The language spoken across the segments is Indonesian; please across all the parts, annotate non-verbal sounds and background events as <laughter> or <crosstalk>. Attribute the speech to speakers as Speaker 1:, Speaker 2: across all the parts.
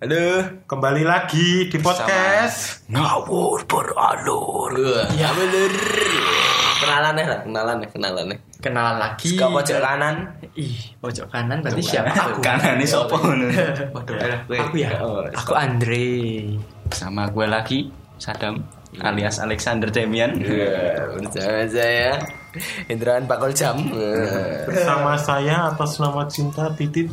Speaker 1: Aduh.
Speaker 2: Kembali lagi di podcast Ngawur Beralur
Speaker 1: Ya bener. Kenalan deh, lah, kenalan deh, kenalan deh.
Speaker 3: kenalan lagi
Speaker 2: Iya.
Speaker 1: Suka pojok kanan.
Speaker 3: ih pojok kanan berarti siapa
Speaker 4: Aku kanan ini sopo
Speaker 1: Waduh,
Speaker 3: aku ya
Speaker 1: Oh,
Speaker 3: aku Andre
Speaker 4: Sama gue lagi Sadam
Speaker 1: Iya.
Speaker 4: alias Alexander Demian.
Speaker 1: Bersama saya Indraan ya. Bakul Jam. Iya.
Speaker 2: Bersama saya atas nama cinta Titit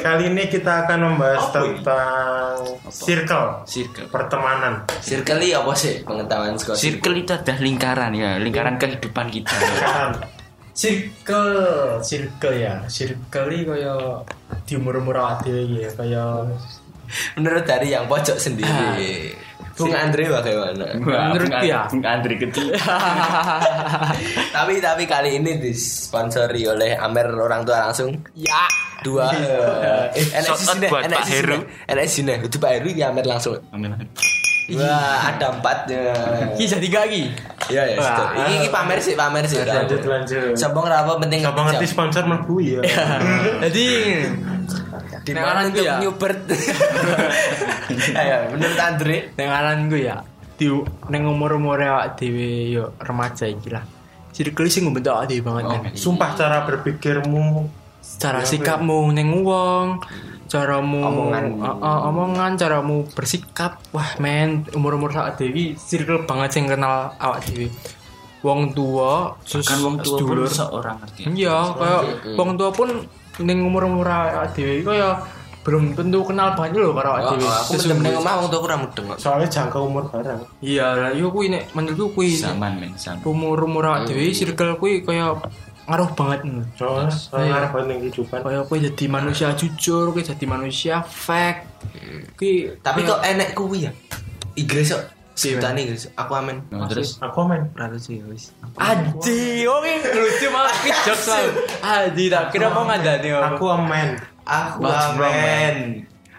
Speaker 2: Kali ini kita akan membahas tentang circle
Speaker 4: Circle.
Speaker 2: Pertemanan
Speaker 1: Circle ini apa sih pengetahuan sekolah?
Speaker 4: Circle itu adalah lingkaran ya, lingkaran kehidupan <laughs> kita.
Speaker 2: Kan,
Speaker 3: circle circle ya circle ini kaya di umur umur awal ya kaya
Speaker 1: Menurut dari yang pojok
Speaker 4: Ah.
Speaker 1: sendiri. Bung Andre
Speaker 4: <laughs>
Speaker 1: bagaimana?
Speaker 4: Wah,
Speaker 3: Menurut
Speaker 4: Bung-
Speaker 3: dia.
Speaker 4: Bung Andri kecil.
Speaker 1: tapi tapi kali ini disponsori oleh Amer orang tua langsung.
Speaker 3: ya
Speaker 1: Dua. eh, Enak
Speaker 4: Shout out
Speaker 1: sini,
Speaker 4: buat
Speaker 1: enak
Speaker 4: Pak
Speaker 1: sini,
Speaker 4: Heru.
Speaker 1: enak sini. Itu Pak Heru ya Amer langsung. Wah, ada empatnya.
Speaker 3: ini jadi gak lagi
Speaker 1: Ya ya.
Speaker 3: Wah.
Speaker 1: sudah. Ini, ini pamer sih, pamer sih.
Speaker 2: Lanjut lanjut
Speaker 1: Sombong rawa penting.
Speaker 2: Siapa ngerti
Speaker 1: jam.
Speaker 2: sponsor melebu ya
Speaker 3: jadi
Speaker 1: Di
Speaker 3: Nek
Speaker 1: mana
Speaker 3: orang
Speaker 1: untuk
Speaker 3: itu ya.
Speaker 1: nyubert. Ayo, menurut Andre.
Speaker 3: dengaran gue ya di neng umur umur awak dewi yo remaja iki lah circle sih ngebentuk awak dewi banget kan
Speaker 2: Sumpah cara berpikirmu
Speaker 3: cara sikapmu neng uang caramu
Speaker 1: Omongan.
Speaker 3: Eh, eh, omongan caramu bersikap wah men umur umur saat dewi circle banget sing kenal awak dewi wong tua terus
Speaker 4: Kan wong tua pun
Speaker 3: sedulur.
Speaker 4: seorang ngerti. ya.
Speaker 3: iya kayak wong tua pun neng umur umur awak dewi kaya belum tentu kenal banget loh karo
Speaker 1: Oh,
Speaker 3: awak dewi
Speaker 1: oh, aku
Speaker 3: Terus-
Speaker 1: mendem ning omah wong tuaku ora mudeng kok.
Speaker 2: Soalnya jangka umur bareng
Speaker 3: iya lah yo kuwi nek menurutku kuwi
Speaker 4: Zaman men, zaman.
Speaker 3: umur umur awak dewi circle kuwi kaya ngaruh banget ngono.
Speaker 2: Soalnya soalnya ada yang kehidupan
Speaker 3: Kayak kowe jadi manusia jujur, kowe jadi manusia fake. Ki
Speaker 1: Hmm. Tapi kok enek kuwi ya. Inggris kok. Sebutane Inggris. Aku amen.
Speaker 4: Nah, terus
Speaker 2: Aku men
Speaker 1: Ora lucu ya wis.
Speaker 3: Aji, oke oh, lucu malah ki
Speaker 1: <laughs>
Speaker 3: jokes lah. Aji tak kira mau ngandani apa.
Speaker 2: Ya, Aku amen
Speaker 1: Aku
Speaker 4: What's wrong,
Speaker 1: amen.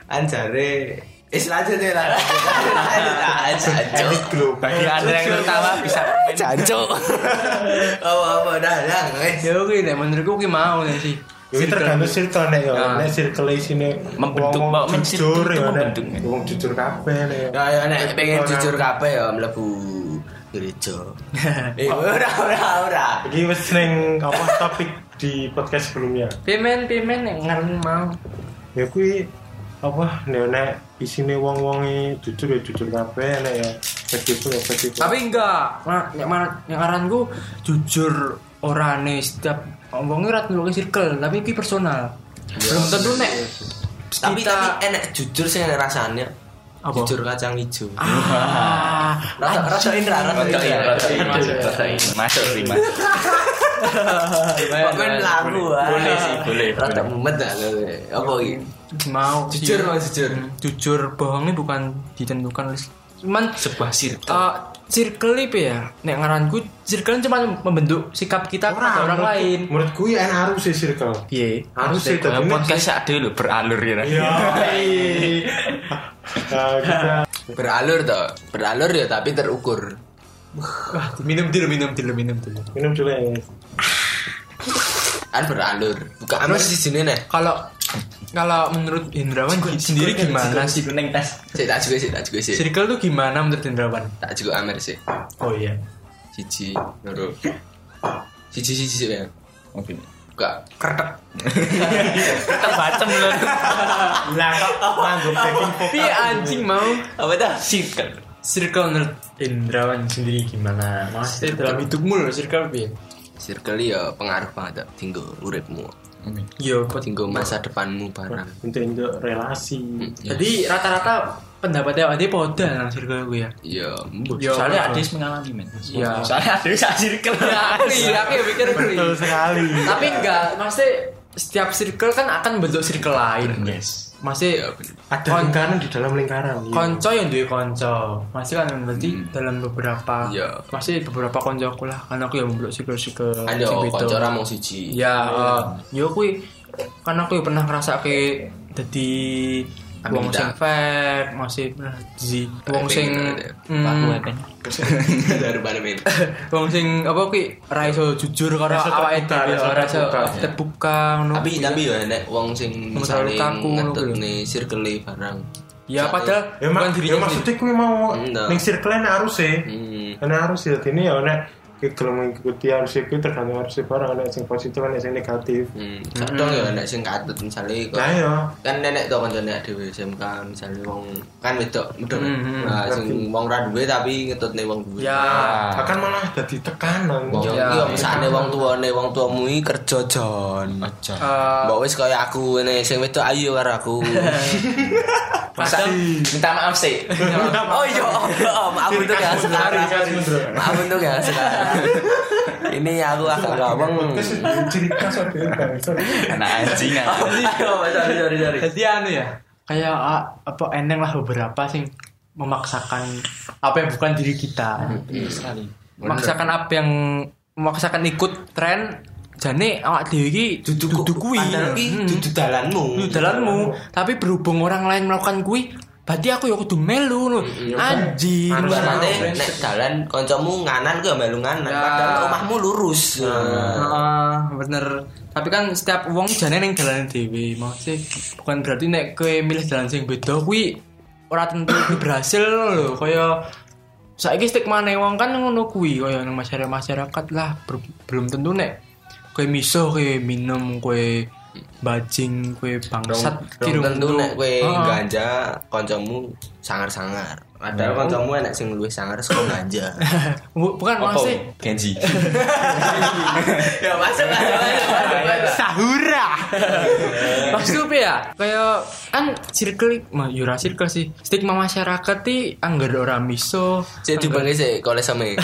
Speaker 1: Anjare. Is lanjut ya lah. Jancuk.
Speaker 4: bagi Anda yang tertawa bisa
Speaker 1: <laughs> Jancuk. Apa-apa Oh, dah dah. wis.
Speaker 3: Ya oke nek menurutku ki mau nek sih.
Speaker 2: Ini tergantung circle nih ya. Nek circle sini
Speaker 4: Membentuk,
Speaker 2: wong-wong
Speaker 4: Mbak, men,
Speaker 2: jujur
Speaker 4: circle
Speaker 2: ya.
Speaker 4: itu
Speaker 2: Nek
Speaker 4: membentuk, men.
Speaker 2: Wong jujur kabeh nih ya.
Speaker 1: Ya ya nek pengen
Speaker 2: Orang-
Speaker 1: jujur kabeh ya mlebu
Speaker 4: <laughs>
Speaker 1: gereja. Eh ora ora ora.
Speaker 2: Iki wis ning apa topik di podcast sebelumnya.
Speaker 3: Pimen pimen nek ngarep mau.
Speaker 2: Ya kuwi apa nek nek isine wong-wonge jujur ya jujur kabeh nek ya. Festival ya festival.
Speaker 3: Tapi enggak, ma- nek ma- nek ngaranku jujur orane setiap omongnya ora nulungi circle, tapi ki personal. Belum tentu nek
Speaker 1: Tapi tapi
Speaker 3: kita
Speaker 1: enek jujur sih enek rasanya.
Speaker 3: Apa?
Speaker 1: Jujur kacang hijau.
Speaker 3: Ah,
Speaker 1: Rasa rasain ra rasain.
Speaker 4: Iya,
Speaker 1: ra.
Speaker 4: masuk, masuk, masuk, masuk sih, masuk.
Speaker 1: Pokoknya lagu ah.
Speaker 4: Boleh sih, boleh,
Speaker 1: Rada
Speaker 4: boleh.
Speaker 1: mumet ah. Apa iki?
Speaker 3: mau sih.
Speaker 1: Jujur mas jujur.
Speaker 3: jujur bohongnya bukan ditentukan oleh cuman
Speaker 4: Sebuah circle.
Speaker 3: eh, circle ini apa ya nek ngaranku circle cuma membentuk sikap kita kepada orang
Speaker 2: menurutku-
Speaker 3: lain
Speaker 2: Menurutku ya enak harus sih circle.
Speaker 3: piye
Speaker 2: Harus sih
Speaker 4: Kayak
Speaker 2: tapi nek-
Speaker 4: Nah, podcast sak dhewe lho beralur ya.
Speaker 2: Iya. Nah, kita
Speaker 1: Beralur toh. Beralur ya tapi terukur.
Speaker 3: Wah, minum dulu minum dulu minum dulu
Speaker 2: minum dulu ya.
Speaker 1: Kan beralur. Bukan anu sih sini nih.
Speaker 3: kalau kalau menurut Indrawan sendiri gimana sih
Speaker 4: kuning tes?
Speaker 1: Sik tak juga sih, tak juga sih.
Speaker 3: circle tuh gimana menurut Indrawan
Speaker 1: Tak juga amer sih.
Speaker 3: oh iya
Speaker 1: Siji, loro. Siji siji sih ya.
Speaker 4: Oke.
Speaker 1: Enggak. Kretek.
Speaker 4: Kita bacem lho.
Speaker 2: Lah kok nanggung taking
Speaker 3: tapi Iya, anjing mau
Speaker 4: Apa dah? Circle.
Speaker 3: circle menurut Indrawan sendiri gimana maksudnya dalam hidupmu loh circle piye
Speaker 1: Circle ya pengaruh banget tak tinggal uripmu.
Speaker 3: yo kok
Speaker 1: Tinggal masa depanmu barang.
Speaker 2: untuk untuk relasi.
Speaker 3: Hmm. Jadi rata-rata pendapatnya Ade poda nang circle gue ya.
Speaker 1: Ya, mbuh.
Speaker 3: Yo,
Speaker 4: Soalnya
Speaker 3: betul.
Speaker 4: Adis mengalami men.
Speaker 3: Iya.
Speaker 4: Soalnya Adis sak circle.
Speaker 3: Ya, aku iya, aku ya pikir gue.
Speaker 2: Betul sekali.
Speaker 3: Tapi enggak, maksudnya setiap circle kan akan bentuk circle lain.
Speaker 1: Ya,
Speaker 4: Yes.
Speaker 3: Masih
Speaker 1: bener.
Speaker 2: Ada
Speaker 3: Kon-
Speaker 2: lingkaran di dalam lingkaran. iya.
Speaker 3: konco yang duwe konco. Masih kan berarti dalam
Speaker 1: Hmm.
Speaker 3: beberapa
Speaker 1: Iya.
Speaker 3: masih beberapa konco aku lah karena aku yang membentuk circle-circle.
Speaker 1: Ada oh,
Speaker 3: sing beda. Iya,
Speaker 1: kanca ora mung
Speaker 3: <laughs>
Speaker 1: siji.
Speaker 3: kan Ya, eh, yo kui karena aku ya pernah ngerasa ke jadi
Speaker 1: Ambil
Speaker 3: wong
Speaker 1: kita.
Speaker 3: sing fair, masih zi, wong
Speaker 1: Pengen
Speaker 3: sing
Speaker 1: gitu ya.
Speaker 3: mm,
Speaker 1: Dari mana min?
Speaker 3: wong sing apa kuwi ra iso jujur karo
Speaker 2: Ra iso
Speaker 3: awake
Speaker 2: terbuka,
Speaker 3: dhewe,
Speaker 2: ra iso
Speaker 3: ora iso
Speaker 2: terbuka.
Speaker 3: terbuka ngono.
Speaker 1: Tapi tapi ya nek wong sing
Speaker 3: Yang
Speaker 1: misalnya
Speaker 3: terlalu kaku ngono
Speaker 1: ngetut
Speaker 3: kuwi lho.
Speaker 1: nih circle barang.
Speaker 3: Ya padahal
Speaker 2: ya
Speaker 3: bukan
Speaker 2: mak ya
Speaker 3: dirinya sendiri.
Speaker 2: maksudnya kuwi mau
Speaker 1: Enggak.
Speaker 2: ning circle nek harus sih
Speaker 1: Hmm.
Speaker 2: nek harus ya ini ya nek ki gelem mengikuti harus itu tergantung harus barang nek sing positif nek sing negatif
Speaker 1: Hmm. Kadang ya nek sing katut misalnya kok.
Speaker 2: nah ya
Speaker 1: kan nenek tuh kan nenek dewe SMK misalnya wong kan wedok wedok
Speaker 3: Hmm,
Speaker 1: nah
Speaker 2: hmm.
Speaker 1: sing wong ra duwe tapi ngetut nih wong duwe
Speaker 3: Ya,
Speaker 1: Ah.
Speaker 2: akan malah jadi tekanan
Speaker 1: wong
Speaker 3: Ya.
Speaker 1: iya misalnya wong tuane wong tuamu iki kerja jon
Speaker 4: Aja.
Speaker 3: eh,
Speaker 1: mbok wis kaya aku ngene sing wedok ayo karo aku <laughs> masa minta maaf sih oh iya oh, iya, maaf
Speaker 3: ya,
Speaker 1: untuk yang sekarang
Speaker 2: Hmm.
Speaker 1: maaf untuk yang sekarang ini aku agak ngomong
Speaker 2: Podcast itu cerita soal dia, sorry.
Speaker 4: Anak anjing <laughs>
Speaker 1: Oh,
Speaker 4: anjing.
Speaker 1: ayo, sorry sorry sorry
Speaker 3: jadi anu ya kayak ah, apa eneng lah beberapa sih memaksakan apa yang bukan diri kita
Speaker 4: sekali.
Speaker 3: memaksakan apa yang memaksakan ikut tren jane awak dhewe iki
Speaker 1: duduk
Speaker 3: dudu kuwi
Speaker 1: padahal iki
Speaker 3: Hmm.
Speaker 1: duduk dalanmu
Speaker 3: Dudu dalanmu tapi berhubung orang lain melakukan kuwi berarti aku ya kudu melu lho anjing
Speaker 2: Harus
Speaker 1: Ibaratnya
Speaker 2: Harus
Speaker 1: nek dalan kancamu nganan ku ya melu nganan
Speaker 3: Ya.
Speaker 1: padahal omahmu lurus.
Speaker 3: Heeh, bener. Tapi kan setiap wong jane ning jalan dhewe. Maksudnya bukan berarti nek kowe milih jalan sing beda kuwi ora tentu kuwi berhasil lho. Kaya saiki stigmane wong kan ngono kuwi kaya nang masyarakat-masyarakat lah Ber- belum tentu nek kowe miso kowe minum kowe bajing kowe bangsat
Speaker 1: Belum
Speaker 3: kirung
Speaker 1: tentu nek kowe
Speaker 3: Heeh.
Speaker 1: ganja kancamu sangar-sangar. Padahal kancamu enek sing luwih sangar saka ganja.
Speaker 3: Bu- bukan
Speaker 4: Opo?
Speaker 3: maksudnya
Speaker 4: Genji.
Speaker 1: ya masuk <laughs>
Speaker 3: Sahura. Maksudnya apa ya, kayak kan circle, mah yura circle sih. Stigma masyarakat ti angger ora miso,
Speaker 1: Cek dibangi sik kole same.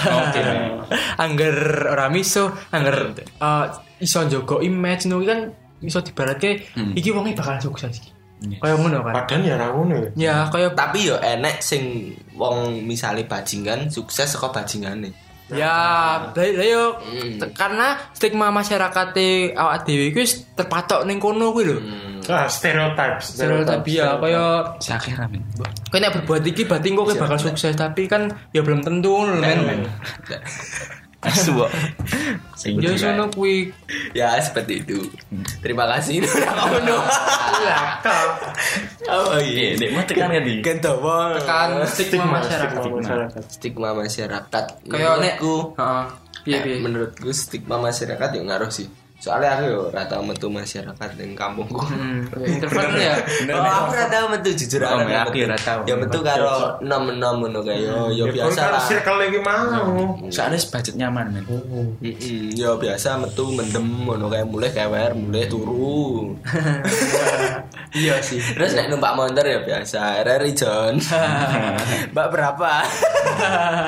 Speaker 3: angger ora miso, angger eh, iso jogo image nu kan iso dibaratke iki wonge bakal sukses iki.
Speaker 4: Iya.
Speaker 3: Kayak ngono kan.
Speaker 2: Padahal ya ra ngono ya.
Speaker 3: Ya, kayak
Speaker 1: Tapi yo enek sing wong misale bajingan sukses saka bajingane.
Speaker 3: Ya, lah yo
Speaker 1: Hmm.
Speaker 3: te- karena stigma masyarakat e awak dhewe kuwi wis terpatok ning kono kuwi lho.
Speaker 2: Ah, stereotype,
Speaker 3: Stereotip
Speaker 2: iya,
Speaker 3: ya, kayak
Speaker 4: Sakit ramen.
Speaker 3: Kau nek berbuat iki berarti kau bakal sukses tapi kan ya belum tentu ngono lho, men.
Speaker 4: Asu. kok. Sing di-
Speaker 3: Ya wis ngono kuwi.
Speaker 1: Ya seperti itu. Terima kasih <laughs> udah ngono.
Speaker 4: Oh iya, dek mati kan ya di.
Speaker 1: Gitu. Gendowo.
Speaker 3: Tekan Kan stigma masyarakat.
Speaker 2: Stigma masyarakat.
Speaker 1: stigma masyarakat
Speaker 3: Kayak Iya, nek
Speaker 1: menurutku
Speaker 3: heeh. Piye
Speaker 1: eh,
Speaker 3: piye.
Speaker 1: menurutku stigma masyarakat yang ngaruh sih soalnya aku yo rata metu masyarakat yang kampungku
Speaker 3: Hmm, introvert ya.
Speaker 1: Oh, aku rata metu jujur
Speaker 4: Oh,
Speaker 1: aku
Speaker 4: ya, aku ya ra tau.
Speaker 1: Ya metu karo nom-nom ngono kayak yo yo
Speaker 2: Ya,
Speaker 1: biasa
Speaker 2: kalau
Speaker 1: lah.
Speaker 2: circle lagi mau.
Speaker 4: Soalnya budget nyaman men.
Speaker 1: Mm-mm, yo biasa metu mendem ngono kayak mulai kewer, mulai <laughs> turu.
Speaker 3: Iya sih.
Speaker 1: Terus nek numpak motor ya biasa RRI <laughs> John. Mbak berapa? <laughs>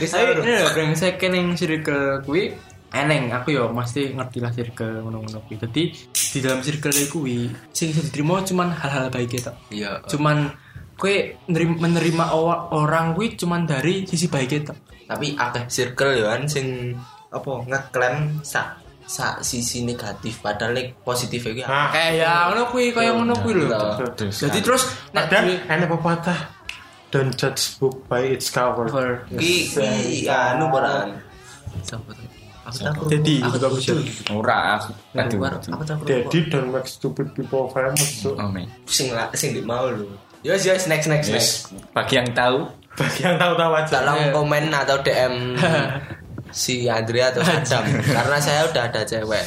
Speaker 1: Wis
Speaker 3: Tapi
Speaker 1: tau,
Speaker 3: ini lho brengsek ning circle kuwi eneng aku yo mesti ngerti lah circle ngono-ngono kuwi. Dadi di dalam circle kuwi sing iso diterima cuman hal-hal baik itu.
Speaker 1: Iya.
Speaker 3: Cuman kue nerim- menerima awa- orang kuwi cuman dari sisi baik itu.
Speaker 1: tapi akeh circle yo kan sing apa ngeklaim sak sak sisi negatif padahal like positif iki
Speaker 2: Nah,
Speaker 3: Ah, Kayak ya ngono kuwi, kayak ngono kuwi lho.
Speaker 4: Betul
Speaker 3: Jadi terus nek
Speaker 2: Padahal
Speaker 3: duwe-
Speaker 2: enak pepatah Don't judge book by its cover.
Speaker 3: cover.
Speaker 1: ki ki anu peran sapa tuh? aku tak
Speaker 2: Jadi,
Speaker 1: aku tak kudu
Speaker 4: Ora aku. Aduh.
Speaker 1: aku tak
Speaker 2: Jadi don't make stupid people famous. So.
Speaker 4: Oh men.
Speaker 1: sing la- sing di mau lu yo yo next next next
Speaker 4: Yes. Bagi yang tahu
Speaker 3: Mm-hmm.
Speaker 2: Bagi yang tahu-tahu aja.
Speaker 1: tolong komen atau DM si Andrea atau Adam karena saya udah ada cewek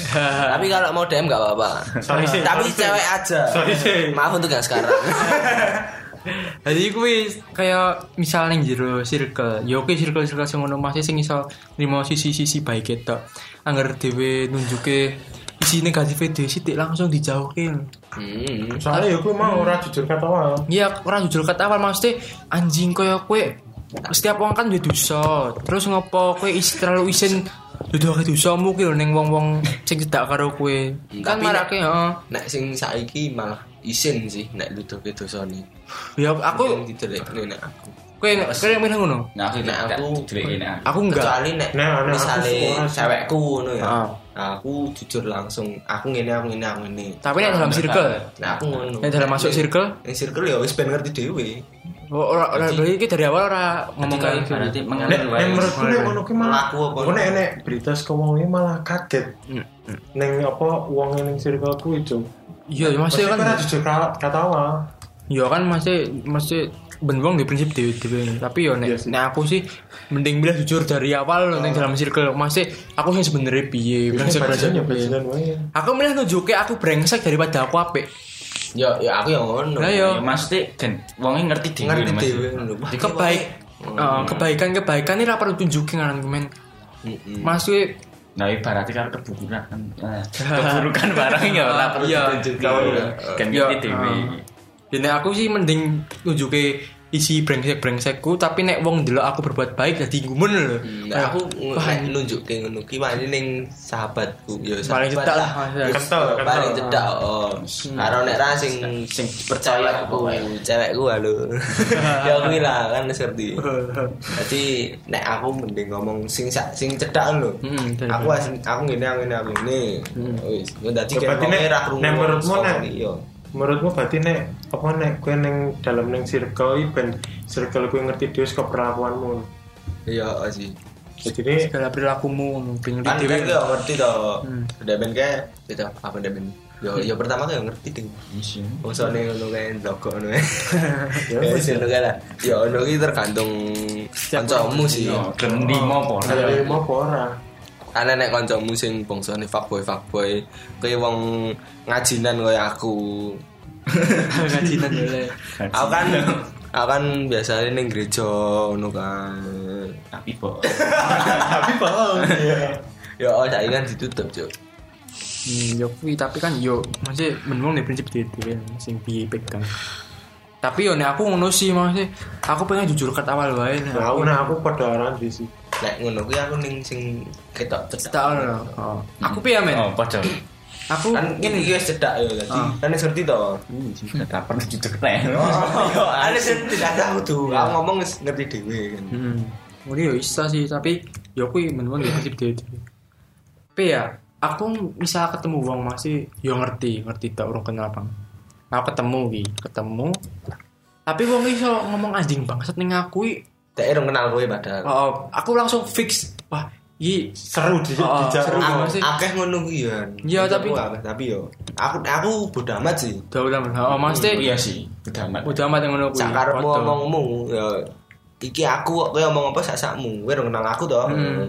Speaker 1: tapi kalau mau DM nggak apa-apa
Speaker 2: Sorry sih,
Speaker 1: tapi
Speaker 2: sorry sih.
Speaker 1: cewek aja
Speaker 2: Sorry sih.
Speaker 1: maaf untuk yang sekarang
Speaker 3: Jadi kuwi kayak misalnya jero circle, yo kuwi circle-circle sing ngono masih sing iso nrimo sisi-sisi baik ketok. Angger dhewe nunjuke isi negatif dhewe sithik langsung dijauhke.
Speaker 1: Hmm.
Speaker 2: Soalnya ya gue
Speaker 3: Mm-hmm.
Speaker 2: mau orang jujur kata orang.
Speaker 3: Iya, ora jujur kat awal maksudnya anjing kaya kue setiap wong kan duwe dosa. Terus ngopo kue is terlalu isin duduhake dosamu ki lho ning wong-wong sing cedak karo kue. Kan
Speaker 1: Tapi nek-
Speaker 3: marake heeh.
Speaker 1: nek sing saiki malah isin sih nek ludo ke dosane
Speaker 3: Ya aku
Speaker 1: yang didelekne nek aku
Speaker 3: Kowe nek kowe nek milih ngono.
Speaker 5: Nah, aku
Speaker 1: Nek
Speaker 5: tidak
Speaker 1: aku
Speaker 5: dideleki nek aku.
Speaker 3: Aku enggak.
Speaker 1: kecuali nek
Speaker 2: Nah, nah, aku
Speaker 1: misalnya
Speaker 2: sekolah sih.
Speaker 1: cewekku ngono ya.
Speaker 3: Ah.
Speaker 1: Nah, aku jujur langsung aku ngene aku ngene aku ngene.
Speaker 3: Tapi nek dalam circle,
Speaker 1: Nah, aku ngono.
Speaker 3: nek dalam masuk circle,
Speaker 1: Nek circle ya wis ben ngerti dhewe.
Speaker 3: oh, ora ora berarti iki dari awal ora ngomong
Speaker 5: Ketika
Speaker 3: kayak gitu.
Speaker 5: berarti mengalir
Speaker 2: Nek, nek
Speaker 5: wae.
Speaker 2: menurutku nek ngono ki malah
Speaker 1: Melaku apa?
Speaker 2: aku nek nek berita saka wong ini malah kaget.
Speaker 3: Mm-hmm.
Speaker 2: Neng apa wong ning circleku itu.
Speaker 3: Iya, ya, masih
Speaker 2: Maksudnya
Speaker 3: kan.
Speaker 2: kan jujur kata katawa.
Speaker 3: Iya kan masih masih ben wong di prinsip dhewe-dhewe. Tapi yo nek
Speaker 2: Iya sih.
Speaker 3: nek aku sih mending milih jujur dari
Speaker 1: Ah.
Speaker 3: awal nek dalam circle masih aku sing
Speaker 1: Iya,
Speaker 3: sebenarnya piye, brengsek-brengsek
Speaker 2: Bajinan ya
Speaker 3: piye.
Speaker 2: bajinan wae.
Speaker 3: Aku milih nunjuke aku brengsek daripada aku apik.
Speaker 1: Ya ya aku yang ngono.
Speaker 3: Lah
Speaker 5: Ya
Speaker 3: yo
Speaker 5: mesti gen wonge ngerti dhewe.
Speaker 1: ngerti
Speaker 5: Mas.
Speaker 1: dhewe ngono. Wah,
Speaker 3: kebaik
Speaker 1: Oh.
Speaker 3: eh, kebaikan-kebaikan ini ora perlu tunjukin kan men.
Speaker 1: Mm-mm.
Speaker 3: Masih
Speaker 5: Nah, ibaratnya kalau keburukan. eh, Keburukan barang ya ora perlu
Speaker 3: Iya,
Speaker 5: ditunjuki. Gen
Speaker 3: iya,
Speaker 5: ngerti dhewe.
Speaker 3: Ya nek aku sih mending nunjuke isi brengsek-brengsekku tapi nek wong ndelok aku berbuat baik jadi gumun lho.
Speaker 1: Nah, aku nge- nek nunjukke ngono ki wani ning sahabatku ya sahabat
Speaker 3: Paling cedak
Speaker 1: lah.
Speaker 3: lah, Mas. Hmm.
Speaker 2: Kental,
Speaker 1: Ya, paling
Speaker 2: kental.
Speaker 1: cedak. Oh. Karo nek ra sing
Speaker 5: Sing percaya
Speaker 1: aku cewekku
Speaker 3: <laughs>
Speaker 1: halo. ya aku lah kan ngerti. Jadi nek aku mending ngomong sing sa- sing cedak lho.
Speaker 3: Hmm, betul. Hmm.
Speaker 1: Aku asing, aku ngene aku ngene aku ngene. Wis, dadi
Speaker 2: Ya, berarti nek- nek menurutmu nek-
Speaker 1: Iya.
Speaker 2: Menurutmu berarti nek apa nek kowe ning dalam ning circle iki ben circle kowe ngerti dhewe saka perlakuanmu.
Speaker 1: Iya sih.
Speaker 2: Jadi ini
Speaker 3: segala perilakumu pengen
Speaker 1: Kan kan
Speaker 3: dhewe.
Speaker 1: yo ngerti to. Udah ben kae gitu apa udah ben. Yo yo pertama kan yo ngerti ding. Bosone ngono kae ndokok ngono. kae.
Speaker 2: Ya,
Speaker 1: Ya wis ngono kae lah. Yo ono iki tergantung kancamu sih.
Speaker 5: Yo, gen limo apa ora?
Speaker 2: ada yang mau apa ora?
Speaker 1: Ana nek kancamu sing bangsane fuckboy fuckboy, kowe wong ngajinan koyo aku.
Speaker 3: Ngajinan boleh.
Speaker 1: Aku kan aku kan biasanya ning gereja ngono kan.
Speaker 5: Tapi kok
Speaker 2: Tapi
Speaker 1: <laughs>
Speaker 2: bohong.
Speaker 1: Ya oh saiki kan ditutup, Cuk.
Speaker 3: Hmm, yo kuwi tapi kan yo masih ben wong nek prinsip dhewe sing piye pegang. Tapi yo nek aku ngono sih masih aku pengen jujur ket awal wae. nek
Speaker 2: Nah, aku nah aku pada orang di sih.
Speaker 1: Nek ngono kuwi aku ning sing ketok cedak.
Speaker 3: Tak ono. Oh. Aku piye men?
Speaker 5: oh padha.
Speaker 3: Aku
Speaker 1: Kan ngene iki wis cedak ya tadi.
Speaker 3: Ah.
Speaker 1: Kan wis ngerti to.
Speaker 5: Ora perlu dicekel.
Speaker 1: Yo
Speaker 3: Oh.
Speaker 1: <laughs> ana sing tidak tahu tuh. Aku ngomong wis ngerti dhewe kan.
Speaker 3: Hmm. Mungkin ya bisa sih, tapi ya aku menurut ya prinsip dia itu. Tapi ya, aku misal ketemu uang masih, ya ngerti, ngerti tak orang kenal bang. Aku ketemu gitu, ketemu. Tapi uang iso ngomong anjing bangsat ning aku, i.
Speaker 1: Dek rong kenal kowe padahal.
Speaker 3: Oh, oh, aku langsung fix. Wah, i
Speaker 2: Seru di
Speaker 3: Oh,
Speaker 2: dijak
Speaker 3: seru.
Speaker 1: Aku
Speaker 2: rumah.
Speaker 3: Apa sih?
Speaker 1: akeh ngono kuwi ya.
Speaker 3: Iya,
Speaker 1: Menurut
Speaker 3: tapi-
Speaker 1: aku akeh, tapi yo aku aku bodo amat sih.
Speaker 3: udah udah udah. Oh,
Speaker 5: Iya
Speaker 3: maksudnya
Speaker 5: sih, udah amat.
Speaker 3: udah amat yang ngono kuwi.
Speaker 1: Hmm. Sak karepmu
Speaker 3: Foto.
Speaker 1: omongmu ya iki aku kok kowe omong apa sak sakmu. Kowe rong kenal aku to.
Speaker 3: Hmm.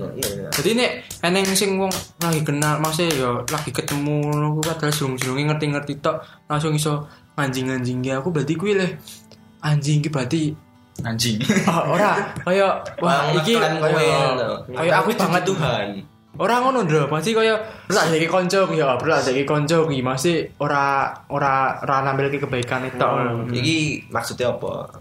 Speaker 3: Jadi nek eneng sing wong lagi kenal maksudnya ya lagi ketemu ngono ku padahal surung-surunge ngerti-ngerti tok langsung iso anjing-anjingnya aku berarti kuwi leh anjing iki berarti
Speaker 5: Anjing.
Speaker 3: ah, ora kaya wah
Speaker 1: Iya.
Speaker 3: iki kaya kaya aku banget tuh
Speaker 1: kan Tuhan.
Speaker 3: ora ngono lho pasti kaya berak saiki kanca ku ya berak saiki kanca ku masih ora ora ora nampilke kebaikan itu
Speaker 1: Iki maksudnya apa?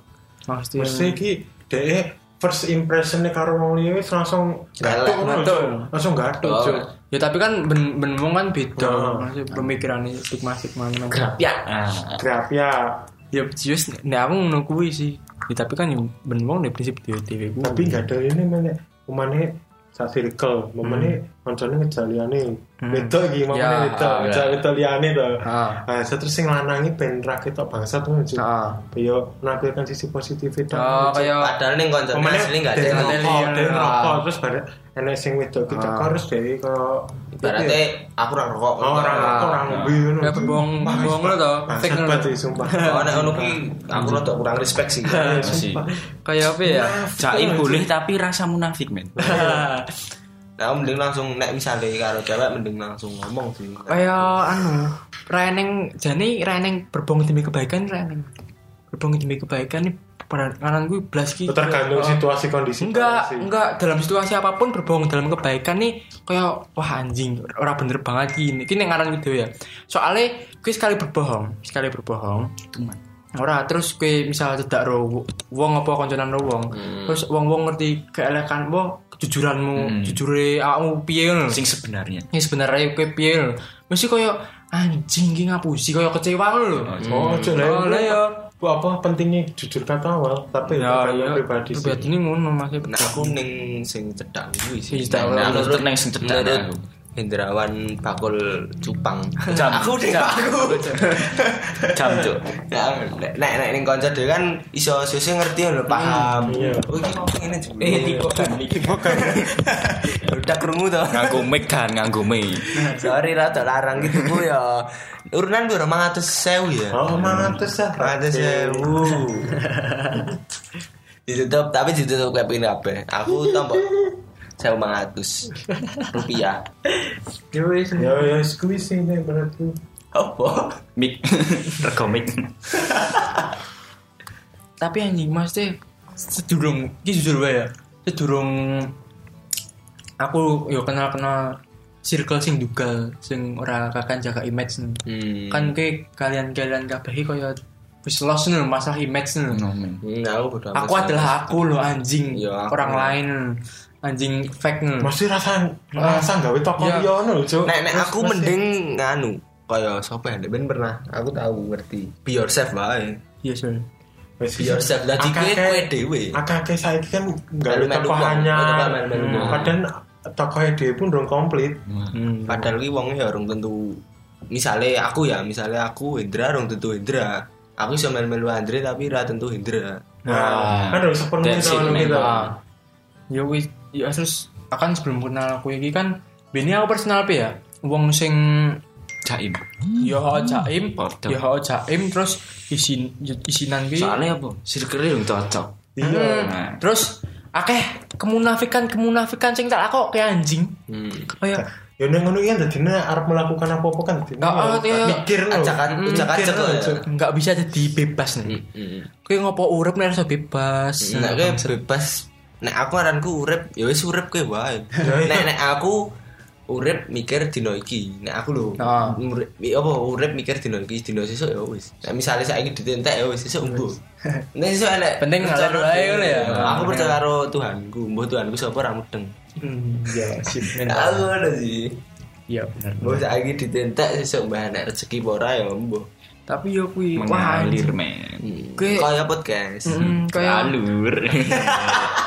Speaker 3: maksudnya
Speaker 2: Mesti iki dhek first impressionnya karo wong liya wis langsung
Speaker 1: Galak,
Speaker 2: gatuk ngono,
Speaker 3: gatuk.
Speaker 2: Cuk. langsung gatuk
Speaker 1: Oh.
Speaker 2: Cuk.
Speaker 3: ya tapi kan ben ben wong kan beda
Speaker 2: Oh.
Speaker 3: maksudnya pemikirannya stigma-stigma ngono.
Speaker 5: Ah,
Speaker 2: Grapia.
Speaker 3: ya jus nek aku ngono kuwi sih ya, tapi kan yang ben wong nek prinsip dhewe-dhewe ku
Speaker 2: Tapi enggak ada ini mana umane sak circle, umane koncone ngejaliane. Wedok iki
Speaker 3: Hmm. Ya,
Speaker 2: mamane wedok,
Speaker 5: ah,
Speaker 2: ngejak wedok liyane to.
Speaker 3: ah
Speaker 2: Nah, saya terus sing lanangi ben ra ketok bangsat ngono Cuk.
Speaker 3: ah
Speaker 2: Yo nampilkan sisi positif itu.
Speaker 3: oh kaya
Speaker 1: Padahal ning kancane
Speaker 2: Pemene
Speaker 1: asli enggak
Speaker 2: dari
Speaker 1: ada.
Speaker 3: Dek-
Speaker 2: rokok,
Speaker 3: Dek-
Speaker 2: dari
Speaker 3: Dek-
Speaker 2: rokok terus bare enek sing wedok kita
Speaker 3: Ah.
Speaker 2: harus dari ke
Speaker 1: Ibaratnya aku ora rokok.
Speaker 2: Oh, orang rokok orang ngombe ngono.
Speaker 3: Ya, bohong-
Speaker 2: Wah,
Speaker 3: bohong lo tau,
Speaker 2: bangsat
Speaker 3: fake lo.
Speaker 2: banget sih, sumpah.
Speaker 3: <laughs>
Speaker 1: Oh, nek ngono kuwi
Speaker 5: Iya.
Speaker 1: aku rada kurang respect
Speaker 5: <laughs>
Speaker 1: sih.
Speaker 5: masih.
Speaker 3: kaya apa ya
Speaker 2: Nah,
Speaker 5: Jaim boleh tapi rasa munafik, men.
Speaker 1: Nah, mending langsung nek misalnya karo cewek mending langsung ngomong sih.
Speaker 3: kaya anu reneng jane reneng berbohong demi kebaikan reneng berbohong demi kebaikan nih kanan gue belas Ah. ki
Speaker 2: Tergantung situasi kondisi.
Speaker 3: enggak
Speaker 2: sih.
Speaker 3: enggak dalam situasi apapun berbohong dalam kebaikan nih kaya wah anjing ora bener banget ini ini ngaran gitu ya soalnya gue sekali berbohong sekali berbohong
Speaker 5: Teman.
Speaker 3: ora terus kue misalnya cedak ro wong apa konconan ro wong terus wong wong ngerti keelekan wong kejujuranmu jujure awakmu piye ngono
Speaker 5: Sing sebenarnya.
Speaker 3: ini sebenarnya kue piye ngono. mesti koyo anjing ki ngapusi koyo kecewa ngono lho
Speaker 1: Hmm.
Speaker 2: Oh, Cuk, lah.
Speaker 3: oleh ya
Speaker 2: apa pentingnya jujur kata awal tapi ya,
Speaker 3: ya,
Speaker 2: pendapat
Speaker 3: ya,
Speaker 2: pribadi sih
Speaker 3: pribadi ini ngono mas
Speaker 1: Nah, aku ning sing cedak kuwi sih.
Speaker 3: Sing cedak.
Speaker 1: Nah, menurut-
Speaker 5: Tetep neng sing nah. cedak,
Speaker 1: menurut
Speaker 5: aku.
Speaker 1: Hendrawan Bakul Cupang.
Speaker 5: Jam.
Speaker 1: <laughs> aku deh aku.
Speaker 5: Jam, Cuk.
Speaker 1: Nah, Nek nek nek ning kanca dhewe kan iso sese ngerti ya, lho paham.
Speaker 2: iya.
Speaker 1: Oh iki kok ngene
Speaker 5: Hmm,
Speaker 1: jenenge.
Speaker 5: Eh, tipe kan iki. <laughs>
Speaker 1: Udah krungu to.
Speaker 5: Nganggo mic kan, nganggo mic.
Speaker 1: Sorry lah tak larang gitu ku ya. Urunan ku 500.000 ya.
Speaker 2: oh mantes ya
Speaker 1: 500.000. <laughs> ditutup tapi ditutup kayak pin kabeh. Aku tombok 1500 rupiah.
Speaker 3: ya wis
Speaker 2: ya ya sekali sih ini menurutku
Speaker 1: Hmm. Apa?
Speaker 5: Mic. Rego mic.
Speaker 3: tapi anjing mas teh sedurung ini jujur wae ya sedurung aku yo kenal kenal circle sing dugal sing ora kakan jaga image nih.
Speaker 1: Hmm.
Speaker 3: kan ke kalian kalian kabeh iki kaya wis lost nih lho, masalah image nih lho.
Speaker 1: Hmm, aku bodo amat
Speaker 3: aku
Speaker 1: sih.
Speaker 3: adalah aku loh anjing
Speaker 1: Yo, aku. ya.
Speaker 3: orang lain anjing fake nih
Speaker 2: masih rasa rasa gawe toko
Speaker 3: Iya.
Speaker 2: iya no cuk
Speaker 1: Ah. Ya. Nek nek
Speaker 2: Terus
Speaker 1: aku
Speaker 2: masih-
Speaker 1: mending nganu kaya sapa ya Nek Ben pernah aku tahu ngerti be yourself wae
Speaker 3: iya sir
Speaker 1: be yourself dadi kowe
Speaker 2: Akeh-
Speaker 1: kowe dhewe
Speaker 2: akeh iya. saiki kan gawe
Speaker 1: Melu-melu
Speaker 2: tokoh
Speaker 1: wong, tokoh
Speaker 2: anyar
Speaker 1: melu-melu
Speaker 2: Hmm.
Speaker 1: wong. Hmm.
Speaker 2: padahal tokoh dhewe pun durung komplit
Speaker 1: padahal kuwi wong ya urung tentu misale aku ya misale aku Hendra urung tentu Hendra aku iso melu-melu Andre tapi ra tentu Hendra Ah.
Speaker 2: nah kan durung sepenuhnya
Speaker 5: that's it,
Speaker 2: sama kita
Speaker 5: man.
Speaker 3: ya wis ya terus akan sebelum kenal aku iki kan bini aku personal pe ya wong sing
Speaker 5: Jaim.
Speaker 3: Yo Ya, jaim,
Speaker 5: Hmm. Padha.
Speaker 3: yo jaim terus isin isinan kuwi.
Speaker 5: Soalnya apa? Circle yang cocok.
Speaker 2: iya
Speaker 1: Hmm.
Speaker 5: Nah.
Speaker 3: Terus akeh kemunafikan kemunafikan sing tak kok kayak anjing.
Speaker 1: hmm.
Speaker 3: Kayak
Speaker 2: ya udah ngono iya dadine arep melakukan apa-apa kan dadine
Speaker 3: Nggak,
Speaker 2: ya,
Speaker 3: ah, iya.
Speaker 2: mikir lho
Speaker 1: Oh, Ajakan- ajak-ajak
Speaker 2: lho,
Speaker 1: lho, ya.
Speaker 2: Cuk.
Speaker 3: nggak bisa jadi bebas nih.
Speaker 1: Hmm.
Speaker 3: Kowe ngopo urip nek iso
Speaker 5: Iya,
Speaker 3: bebas. Nah,
Speaker 1: nek kowe bebas nek aku aranku urip ya wis urip kowe <laughs> wae nek nek aku urip mikir dino iki nek aku lho
Speaker 3: Ah.
Speaker 1: urip mi- apa urip mikir dino iki dino sesuk ya wis nek misale saiki ditentek ya wis sesuk <laughs> embo nek sesuk enek
Speaker 3: Penting
Speaker 1: percaya
Speaker 3: ngalir wae
Speaker 1: karo-
Speaker 3: ngono ya.
Speaker 1: aku percaya karo Tuhanku mbuh Tuhanku sapa ra mudeng
Speaker 2: iya sip
Speaker 1: aku ngono sih
Speaker 3: Iya bener.
Speaker 1: mbuh saiki ditentek sesuk mbah nek rezeki apa ora ya mbuh
Speaker 3: Tapi yo kuwi wah
Speaker 5: Mengalir,
Speaker 3: anjing.
Speaker 5: men.
Speaker 3: Kowe-
Speaker 1: kaya podcast
Speaker 3: <laughs> Mm, kayak
Speaker 5: Alur.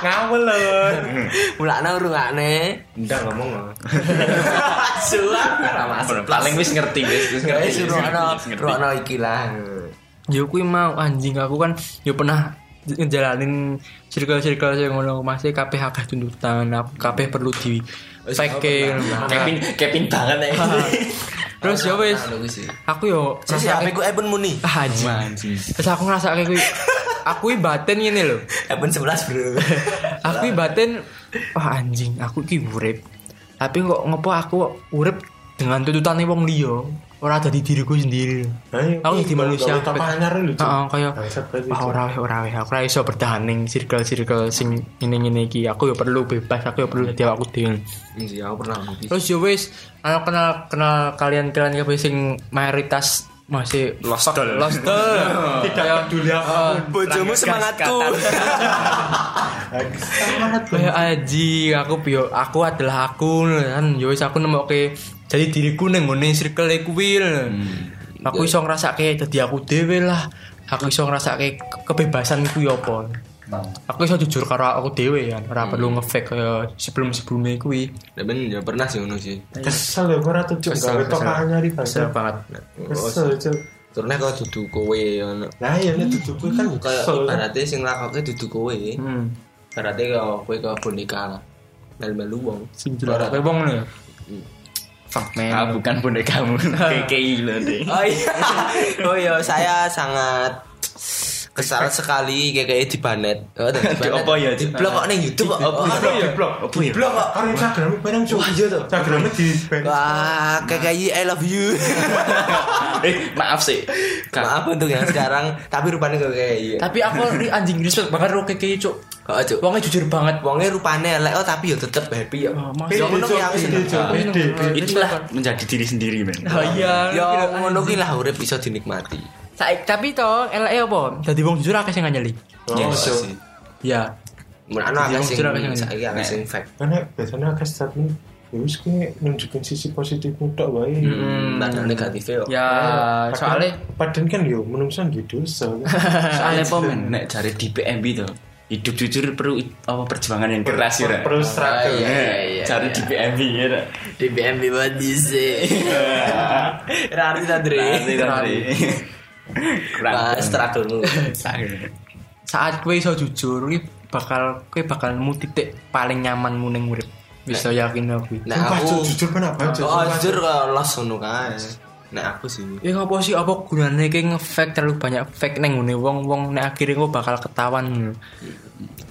Speaker 2: ngawel lho
Speaker 1: mulakne urungane ndak ngomong ah.
Speaker 3: <laughs>
Speaker 1: Suwak ora masuk.
Speaker 5: Paling wis ngerti, wis wis ngerti.
Speaker 1: Guys,
Speaker 5: wis
Speaker 1: ruano
Speaker 5: ngerti, wis ngerti.
Speaker 1: ruano iki lah.
Speaker 3: yo Ya kuwi mau anjing aku kan yo pernah ngejalanin circle-circle sing ngono masih kabeh akeh tuntutan, kabeh perlu di packing.
Speaker 5: Kevin, Kevin banget ya.
Speaker 3: <laughs> Terus ya wis,
Speaker 1: Aku sih.
Speaker 3: aku yo
Speaker 1: Sisi
Speaker 3: ngerasa-
Speaker 1: HP ku Eben
Speaker 3: <laughs>
Speaker 1: Muni.
Speaker 3: Ah, anjing. Terus aku ngerasa kayak kuwi- aku iki batin ngene lho.
Speaker 1: Eben 11, Bro.
Speaker 3: <laughs> Aku iki batin wah anjing, aku iki urip. Tapi kok ngopo aku kok urip dengan tuntutan wong liya, ora dadi diriku sendiri. Aku jadi manusia.
Speaker 2: Toko anyar lho Cuk.
Speaker 3: Heeh, kaya
Speaker 2: Bangsat berarti,
Speaker 3: wah
Speaker 2: Cuk.
Speaker 3: ora weh ora weh, aku ora iso bertahan ning circle-circle sing ngene-ngene iki. Aku yo perlu bebas, aku yo perlu dadi awakku dhewe.
Speaker 1: Iya, aku pernah ngopi.
Speaker 3: Terus yo wis ana kenal kenal kalian kalian kabeh sing mayoritas masih
Speaker 5: Lostel.
Speaker 3: lostel.
Speaker 2: <laughs> tidak peduli apa
Speaker 1: Bojomu semangatku. <laughs>
Speaker 3: Ah, Kayak aji aku yo aku adalah aku kan yo wis aku nemoke jadi diriku ning ngene circle e kuwi. lho.
Speaker 2: Hmm.
Speaker 3: Aku iso ngrasake dadi aku dhewe lah. Aku iso ngrasake ke- kebebasanku yo apa. Aku iso jujur karo aku dhewe kan, ora perlu
Speaker 2: Hmm.
Speaker 3: nge-fake kaya sebelum-sebelumnya kuwi.
Speaker 1: Eben ya pernah sih ngono sih.
Speaker 2: kesel ya ora tuh Cuk. gawe toko anyar iki
Speaker 3: Kesel
Speaker 2: bangsat.
Speaker 3: banget.
Speaker 2: kesel Cuk.
Speaker 1: Turune kok dudu kowe ngono.
Speaker 2: Nah, ya ini duduk gue kan
Speaker 1: Kayak
Speaker 2: kesel.
Speaker 1: ibaratnya sing lakoke dudu kowe.
Speaker 3: Hmm.
Speaker 1: Ibaratnya kok kowe kok boneka lah. Melu-melu wong.
Speaker 3: Sing jelas kowe wong lho. Fuck
Speaker 5: Ah,
Speaker 3: man.
Speaker 5: bukan <laughs> bonekamu. KKI lho deh.
Speaker 1: Oh iya. Oh iya, saya sangat kesal sekali kayak dibanet. Oh,
Speaker 5: Di apa ya, Cuk?
Speaker 1: Di blok kok ning YouTube kok. Apa
Speaker 2: Di blok,
Speaker 5: Apa ya?
Speaker 2: blok kok. Kan Instagramnya bareng Cuk. Instagramnya di ban.
Speaker 1: Wah, KKI I love you.
Speaker 5: Eh, maaf sih. Kak,
Speaker 1: Maaf untuk yang sekarang, tapi rupanya iya. kok KKI.
Speaker 3: Tapi aku <laughs> ri- anjing respect banget karo keke Iya. cuk.
Speaker 1: Kok aja.
Speaker 3: Wonge jujur banget.
Speaker 1: Wonge rupane elek oh tapi ya tetep happy ya.
Speaker 3: Oh, mas-
Speaker 1: Ya
Speaker 2: Pede,
Speaker 1: ngono
Speaker 2: Cuk.
Speaker 1: ki aku
Speaker 2: Pede,
Speaker 1: seneng.
Speaker 2: Cuk. Pede, pede.
Speaker 5: itulah menjadi diri sendiri, men.
Speaker 3: Oh iya.
Speaker 1: Ya ngono ki lah urip bisa dinikmati.
Speaker 3: Saik tapi to eleke ya, apa? Dadi wong jujur akeh sing nganyeli.
Speaker 2: Oh, Cuk.
Speaker 3: Ya.
Speaker 1: Mun ana
Speaker 3: Jadi
Speaker 1: akeh
Speaker 3: yang
Speaker 1: sing
Speaker 3: cerah kayaknya.
Speaker 1: saiki akeh sing fact.
Speaker 2: Karena biasanya akeh statement ya wis ki nunjukin sisi positifmu tok wae
Speaker 1: tak ada negatifnya kok.
Speaker 3: ya
Speaker 2: Padahal-
Speaker 3: soalnya
Speaker 2: padahal kan yo menungsan di dosa kan.
Speaker 4: Soalnya apa men? Nek cari di PMB tuh hidup jujur perlu i- apa perjuangan yang keras ya. Ra?
Speaker 2: perlu
Speaker 1: Iya,
Speaker 2: struggle
Speaker 1: iya, iya,
Speaker 4: Cari
Speaker 1: iya.
Speaker 4: di PMB ya. Ra?
Speaker 1: DBMB banget sih. Rari tadi.
Speaker 4: Nanti nanti. Kurang.
Speaker 1: Mas terakhir dulu.
Speaker 3: saat kue iso jujur kue bakal kue bakal nemu titik paling nyaman ning urip bisa yakin aku
Speaker 1: Nah
Speaker 2: Sumpah, Cuk,
Speaker 1: aku
Speaker 2: jujur kenapa Cuk?
Speaker 1: Oh
Speaker 2: Sumpah,
Speaker 1: jujur kalau los ngono kan. Nah aku sih.
Speaker 3: Ya apa sih apa gunanya kayak nge-fake terlalu banyak fake neng ngene wong wong nek akhirnya kok bakal ketahuan.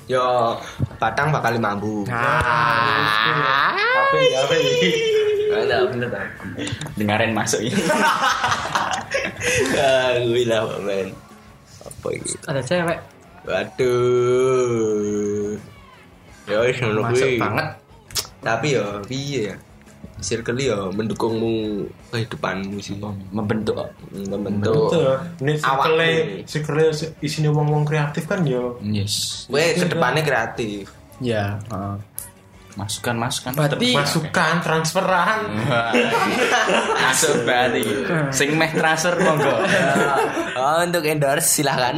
Speaker 1: Yo batang bakal
Speaker 3: Nah.
Speaker 1: mambu.
Speaker 3: Ah.
Speaker 2: Tapi ya apa ini?
Speaker 1: Ada bener tak?
Speaker 4: Dengarin masuk ya.
Speaker 1: Ah, Gila Pak, men. Apa ini?
Speaker 3: Ada cewek
Speaker 1: Waduh. Ya wis ngono
Speaker 3: masuk
Speaker 1: kuwi.
Speaker 3: banget.
Speaker 1: Tapi ya piye ya? Circle ya mendukungmu kehidupanmu sih.
Speaker 4: Membentuk
Speaker 1: Membentuk.
Speaker 2: Betul. Ini
Speaker 1: Awak
Speaker 2: circle
Speaker 1: nih.
Speaker 2: circle isinya wong-wong kreatif kan yo.
Speaker 4: yes.
Speaker 1: Gue kedepannya kreatif.
Speaker 3: Ya.
Speaker 4: Masukan masukan.
Speaker 3: Berarti
Speaker 2: Masukan transferan.
Speaker 4: Masuk berarti. Sing meh transfer monggo.
Speaker 1: oh, untuk endorse
Speaker 4: <laughs>
Speaker 1: silahkan.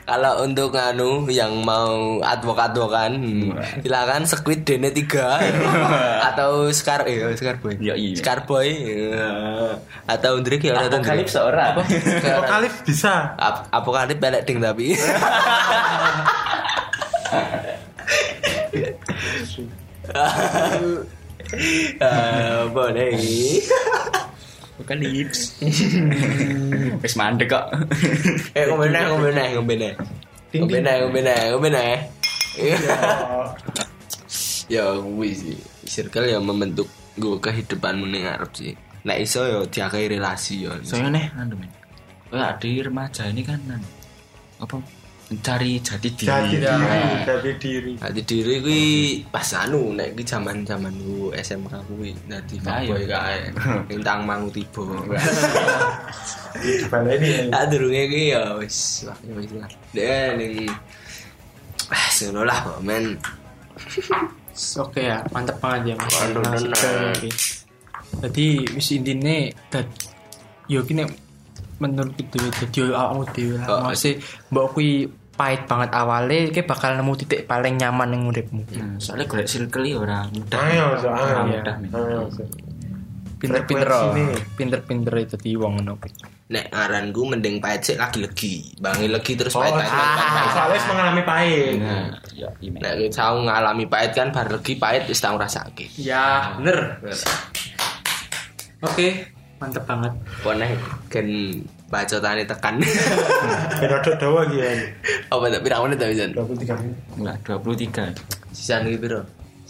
Speaker 1: Kalau untuk anu yang mau advokat-advokan,
Speaker 4: Iya.
Speaker 1: silakan squid dene
Speaker 4: <laughs>
Speaker 1: 3 atau Scar eh Scar Boy.
Speaker 4: Ya, iya. Ah.
Speaker 1: Scar Boy eh, atau Drake ya atau Drake.
Speaker 4: seorang.
Speaker 1: Iya.
Speaker 2: Apokalip bisa.
Speaker 1: Ap apokalip belek ding
Speaker 4: <laughs>
Speaker 1: tapi. <laughs> Eh, boleh.
Speaker 4: Bukan lips. Wis mandek kok.
Speaker 1: Eh, ngombe neh, ngombe neh, ngombe neh. Ngombe neh, ngombe neh, ngombe neh.
Speaker 4: Iya.
Speaker 1: Ya kuwi sih. Circle ya membentuk gue kehidupanmu ning ngarep sih. Nek iso ya diakai relasi ya.
Speaker 4: Soalnya nih, anu men. Wah, di remaja ini kan anu, apa mencari jati diri.
Speaker 2: Jati diri,
Speaker 4: Nah,
Speaker 2: jati diri.
Speaker 1: Hati diri kuwi pas anu nek iki jaman-jaman ku SMK kuwi dadi
Speaker 4: Nah,
Speaker 1: fuckboy
Speaker 4: iya. <laughs>
Speaker 1: kae. Lintang mangu tiba.
Speaker 2: Di balai ini.
Speaker 1: Tak durunge kuwi ya wis wah ya wis lah. Dek ning ah seno lah kok, men.
Speaker 3: oke ya, mantep banget ya Mas.
Speaker 1: Waduh,
Speaker 3: Mas,
Speaker 1: tenan.
Speaker 3: oke. Jadi wis intine dad yo ki nek menurut dhewe dadi yo awakmu dhewe
Speaker 1: Oh,
Speaker 3: lah. Maksudnya mbok kuwi pahit banget awalnya kayak bakal nemu titik paling nyaman yang uripmu.
Speaker 4: Nah, soalnya golek circle ya ora mudah.
Speaker 2: Ayo, so, ayo.
Speaker 4: Ora mudah, men.
Speaker 2: Ayo, so.
Speaker 3: Pinter-pinter,
Speaker 2: Frekuensi nih.
Speaker 3: pinter-pinter itu di wong ngono. kuwi.
Speaker 1: Nek ngaranku mending pahit sik lagi legi. Bangi legi terus
Speaker 2: Oh,
Speaker 1: pahit pahit, pahit, pahit, pahit.
Speaker 2: soalnya wis mengalami pahit.
Speaker 4: Nah, ya iya, men.
Speaker 1: Nek kau ngalami pahit kan bar legi pahit wis tau ngrasake.
Speaker 3: Ya, bener. Oke, mantep banget.
Speaker 1: Poneh gen bacotane
Speaker 2: <laughs>
Speaker 1: tekan.
Speaker 2: Beda dok dawa iki ya.
Speaker 1: Apa tak pirang menit ta Jan?
Speaker 2: 23 menit.
Speaker 4: Enggak 23.
Speaker 1: Sisa iki piro?